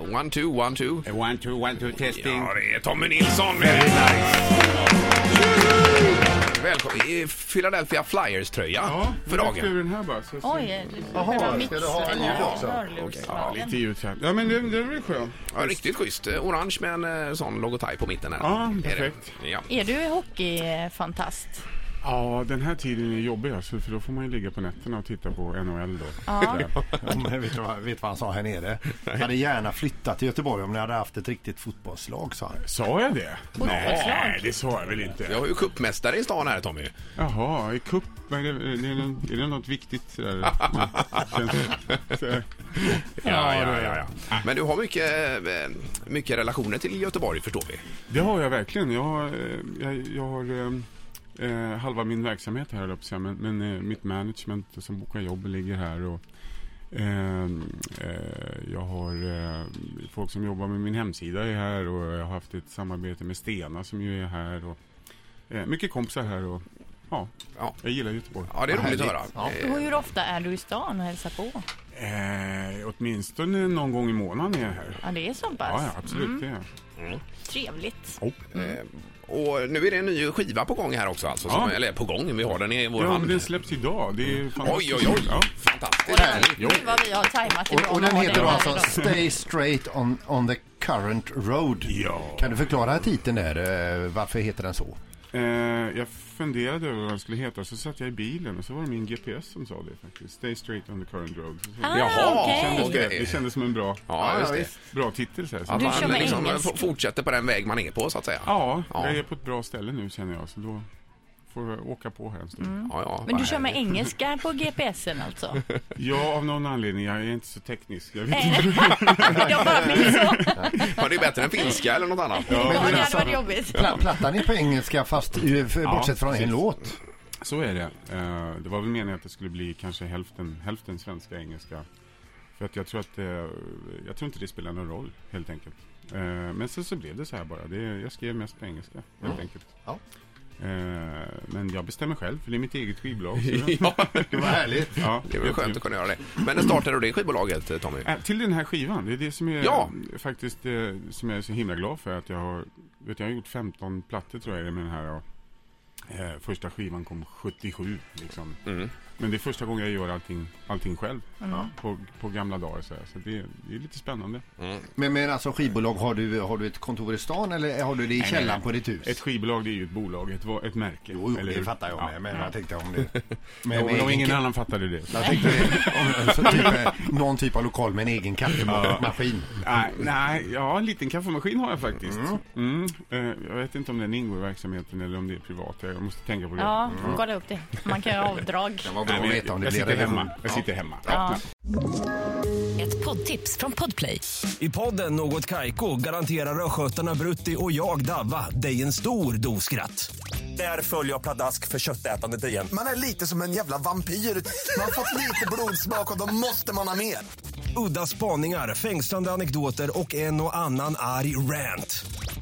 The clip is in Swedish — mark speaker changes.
Speaker 1: One, two, one, two.
Speaker 2: Eh, One, two, one, two, testing.
Speaker 1: Ja, det är Tommy Nilsson. Very nice. Välkommen i Philadelphia Flyers-tröja för
Speaker 2: Jag lyfter
Speaker 1: dagen.
Speaker 2: den här bara. Så, så.
Speaker 3: Oj, själva mix
Speaker 4: ska du ha en
Speaker 3: eller
Speaker 4: ljud också?
Speaker 3: rörlursslagen.
Speaker 2: Lite ljud så här. Ja, men det, det är väl skönt.
Speaker 1: Ja, riktigt schysst. Eh, Orange med en eh, sån logotyp på mitten. Här.
Speaker 2: Ja,
Speaker 1: Är det.
Speaker 2: perfekt.
Speaker 1: Ja.
Speaker 3: Är du hockeyfantast?
Speaker 2: Ja, den här tiden är jobbig alltså, för då får man ju ligga på nätterna och titta på NHL då.
Speaker 3: Ja.
Speaker 4: Men vet, du vad, vet du vad han sa här nere? Han hade gärna flyttat till Göteborg om ni hade haft ett riktigt fotbollslag, sa han.
Speaker 2: Sa jag det?
Speaker 3: Fotbollslag.
Speaker 2: det sa jag väl inte.
Speaker 1: Vi har ju cupmästare i stan här, Tommy.
Speaker 2: Jaha, i cup, vad är det, är det, någon- är det något viktigt sådär? Känns det- så-
Speaker 1: Ja, ja, ja, ja. Men du har mycket, eh, mycket relationer till Göteborg, förstår vi.
Speaker 2: Det har jag verkligen. Jag, har, eh, jag, jag har eh, eh, halva min verksamhet här, höll jag på att säga, men, men eh, mitt management som bokar jobb ligger här. Och, eh, eh, jag har eh, folk som jobbar med min hemsida är här och jag har haft ett samarbete med Stena som ju är här. Och, eh, mycket kompisar här och ja,
Speaker 1: Ja.
Speaker 2: jag gillar Göteborg.
Speaker 1: Ja, det är roligt att höra. Eh,
Speaker 4: härligt.
Speaker 1: Ja.
Speaker 3: Och hur ofta är du i stan och hälsar på?
Speaker 2: Eh, åtminstone någon gång i månaden är jag här.
Speaker 3: Ja, det är så
Speaker 2: Ja, ja
Speaker 3: pass. Mm.
Speaker 2: absolut. Det är jag.
Speaker 3: Trevligt.
Speaker 1: eh, Och nu är det en ny skiva på gång här också alltså. Som,
Speaker 2: Ja.
Speaker 1: Eller på gång, vi har den i vår
Speaker 2: Ja,
Speaker 1: hand.
Speaker 2: men den släpps idag. Det är
Speaker 1: Mm. Oj,
Speaker 2: fantastiskt.
Speaker 1: oj, oj.
Speaker 2: Ja.
Speaker 1: Fantastiskt. härligt.
Speaker 3: Gud vad vi har tajmat det bra
Speaker 4: Och, och
Speaker 3: med
Speaker 4: den heter
Speaker 3: det
Speaker 4: då
Speaker 3: här
Speaker 4: alltså
Speaker 3: idag.
Speaker 4: Stay straight on, on the current road.
Speaker 2: Ja.
Speaker 4: Kan du förklara titeln där? eh, Varför heter den så?
Speaker 2: Eh, jag funderade över vad den skulle heta, så satt jag i bilen och så var det min GPS som sa det faktiskt. Stay straight on the current road. Så, så,
Speaker 3: Ah,
Speaker 1: Jaha,
Speaker 3: okej.
Speaker 1: okej.
Speaker 2: det, det kändes som en bra,
Speaker 1: Ja, just det.
Speaker 2: bra titel. Så här, så.
Speaker 1: Att
Speaker 3: Du
Speaker 1: man
Speaker 3: kör med
Speaker 1: liksom
Speaker 3: engelsk.
Speaker 1: f- fortsätter på den väg man är på så att säga.
Speaker 2: ja,
Speaker 1: Ja.
Speaker 2: jag är på ett bra ställe nu känner jag, så då får jag åka på här en stund.
Speaker 3: Mm.
Speaker 1: Ja, ja,
Speaker 3: Men
Speaker 1: vad
Speaker 3: du kör med
Speaker 1: härligt.
Speaker 3: engelska på GPSen alltså?
Speaker 2: Ja, av någon anledning. Jag är inte så teknisk. Jag vet inte.
Speaker 3: Nej, Eh, jag bara minns så.
Speaker 1: Ja, det är bättre än finska eller något annat.
Speaker 3: Ja, det
Speaker 4: men
Speaker 3: hade
Speaker 4: alltså-
Speaker 3: varit jobbigt.
Speaker 4: Pla- Plattan är på engelska fast eh, för-
Speaker 2: Ja,
Speaker 4: bortsett från en
Speaker 2: precis.
Speaker 4: låt.
Speaker 2: Så är det. Eh, det var väl meningen att det skulle bli kanske hälften, hälften svenska och engelska. För att jag tror att eh, jag tror inte det spelar någon roll helt enkelt. Eh, men sen så blev det så här bara. Det, jag skrev mest på engelska helt enkelt.
Speaker 4: Ja.
Speaker 2: Eh, men jag bestämmer själv för det är mitt eget skivbolag. så-
Speaker 1: Ja,
Speaker 4: Det var härligt.
Speaker 2: ja,
Speaker 1: det är väl skönt att kunna göra det. Men när startade du det skivbolaget, Tommy?
Speaker 2: Eh, Till den här skivan, det är det som är
Speaker 1: Ja.
Speaker 2: faktiskt eh, som jag är så himla glad för att jag har, vet jag har gjort 15 plattor tror jag med den här. Och, eh, första skivan kom 77 liksom.
Speaker 1: Mm.
Speaker 2: Men det är första gången jag gör allting, allting själv på, på gamla dagar så, här. så det, det är lite spännande.
Speaker 4: Men, men alltså skivbolag, har du, har du ett kontor i stan eller har du det i källaren på ditt hus?
Speaker 2: Ett skivbolag det är ju ett bolag, ett, va- ett märke.
Speaker 4: Jo, jo
Speaker 2: eller
Speaker 4: det
Speaker 2: hur?
Speaker 4: fattar jag
Speaker 2: Ja.
Speaker 4: med, men jag tänkte om det. Men,
Speaker 2: Jo,
Speaker 4: med
Speaker 2: och
Speaker 4: egen-
Speaker 2: ingen annan fattade det.
Speaker 4: jag tänkte det. Om, alltså, typ, eh, någon typ av lokal med en egen kaffemaskin.
Speaker 2: Nej, nej, ja en liten kaffemaskin har jag faktiskt. Mm. Eh, jag vet inte om den ingår i verksamheten eller om det är privat. Jag måste tänka på det.
Speaker 3: Ja, kolla upp det. Man kan göra avdrag.
Speaker 4: Vad bra att
Speaker 2: Nej,
Speaker 4: veta om
Speaker 2: men
Speaker 4: det
Speaker 2: jag
Speaker 4: blir
Speaker 2: sitter
Speaker 4: revision.
Speaker 2: hemma. Jag sitter hemma.
Speaker 3: Ja.
Speaker 5: Ett poddtips från Podplay.
Speaker 6: I podden Något Kaiko garanterar östgötarna Brutti och jag, Davva, dig en stor dos skratt. Där följer jag pladask för köttätandet igen.
Speaker 7: Man är lite som en jävla vampyr. Man har fått lite blodsmak och då måste man ha mer.
Speaker 6: Udda spaningar, fängslande anekdoter och en och annan arg rant.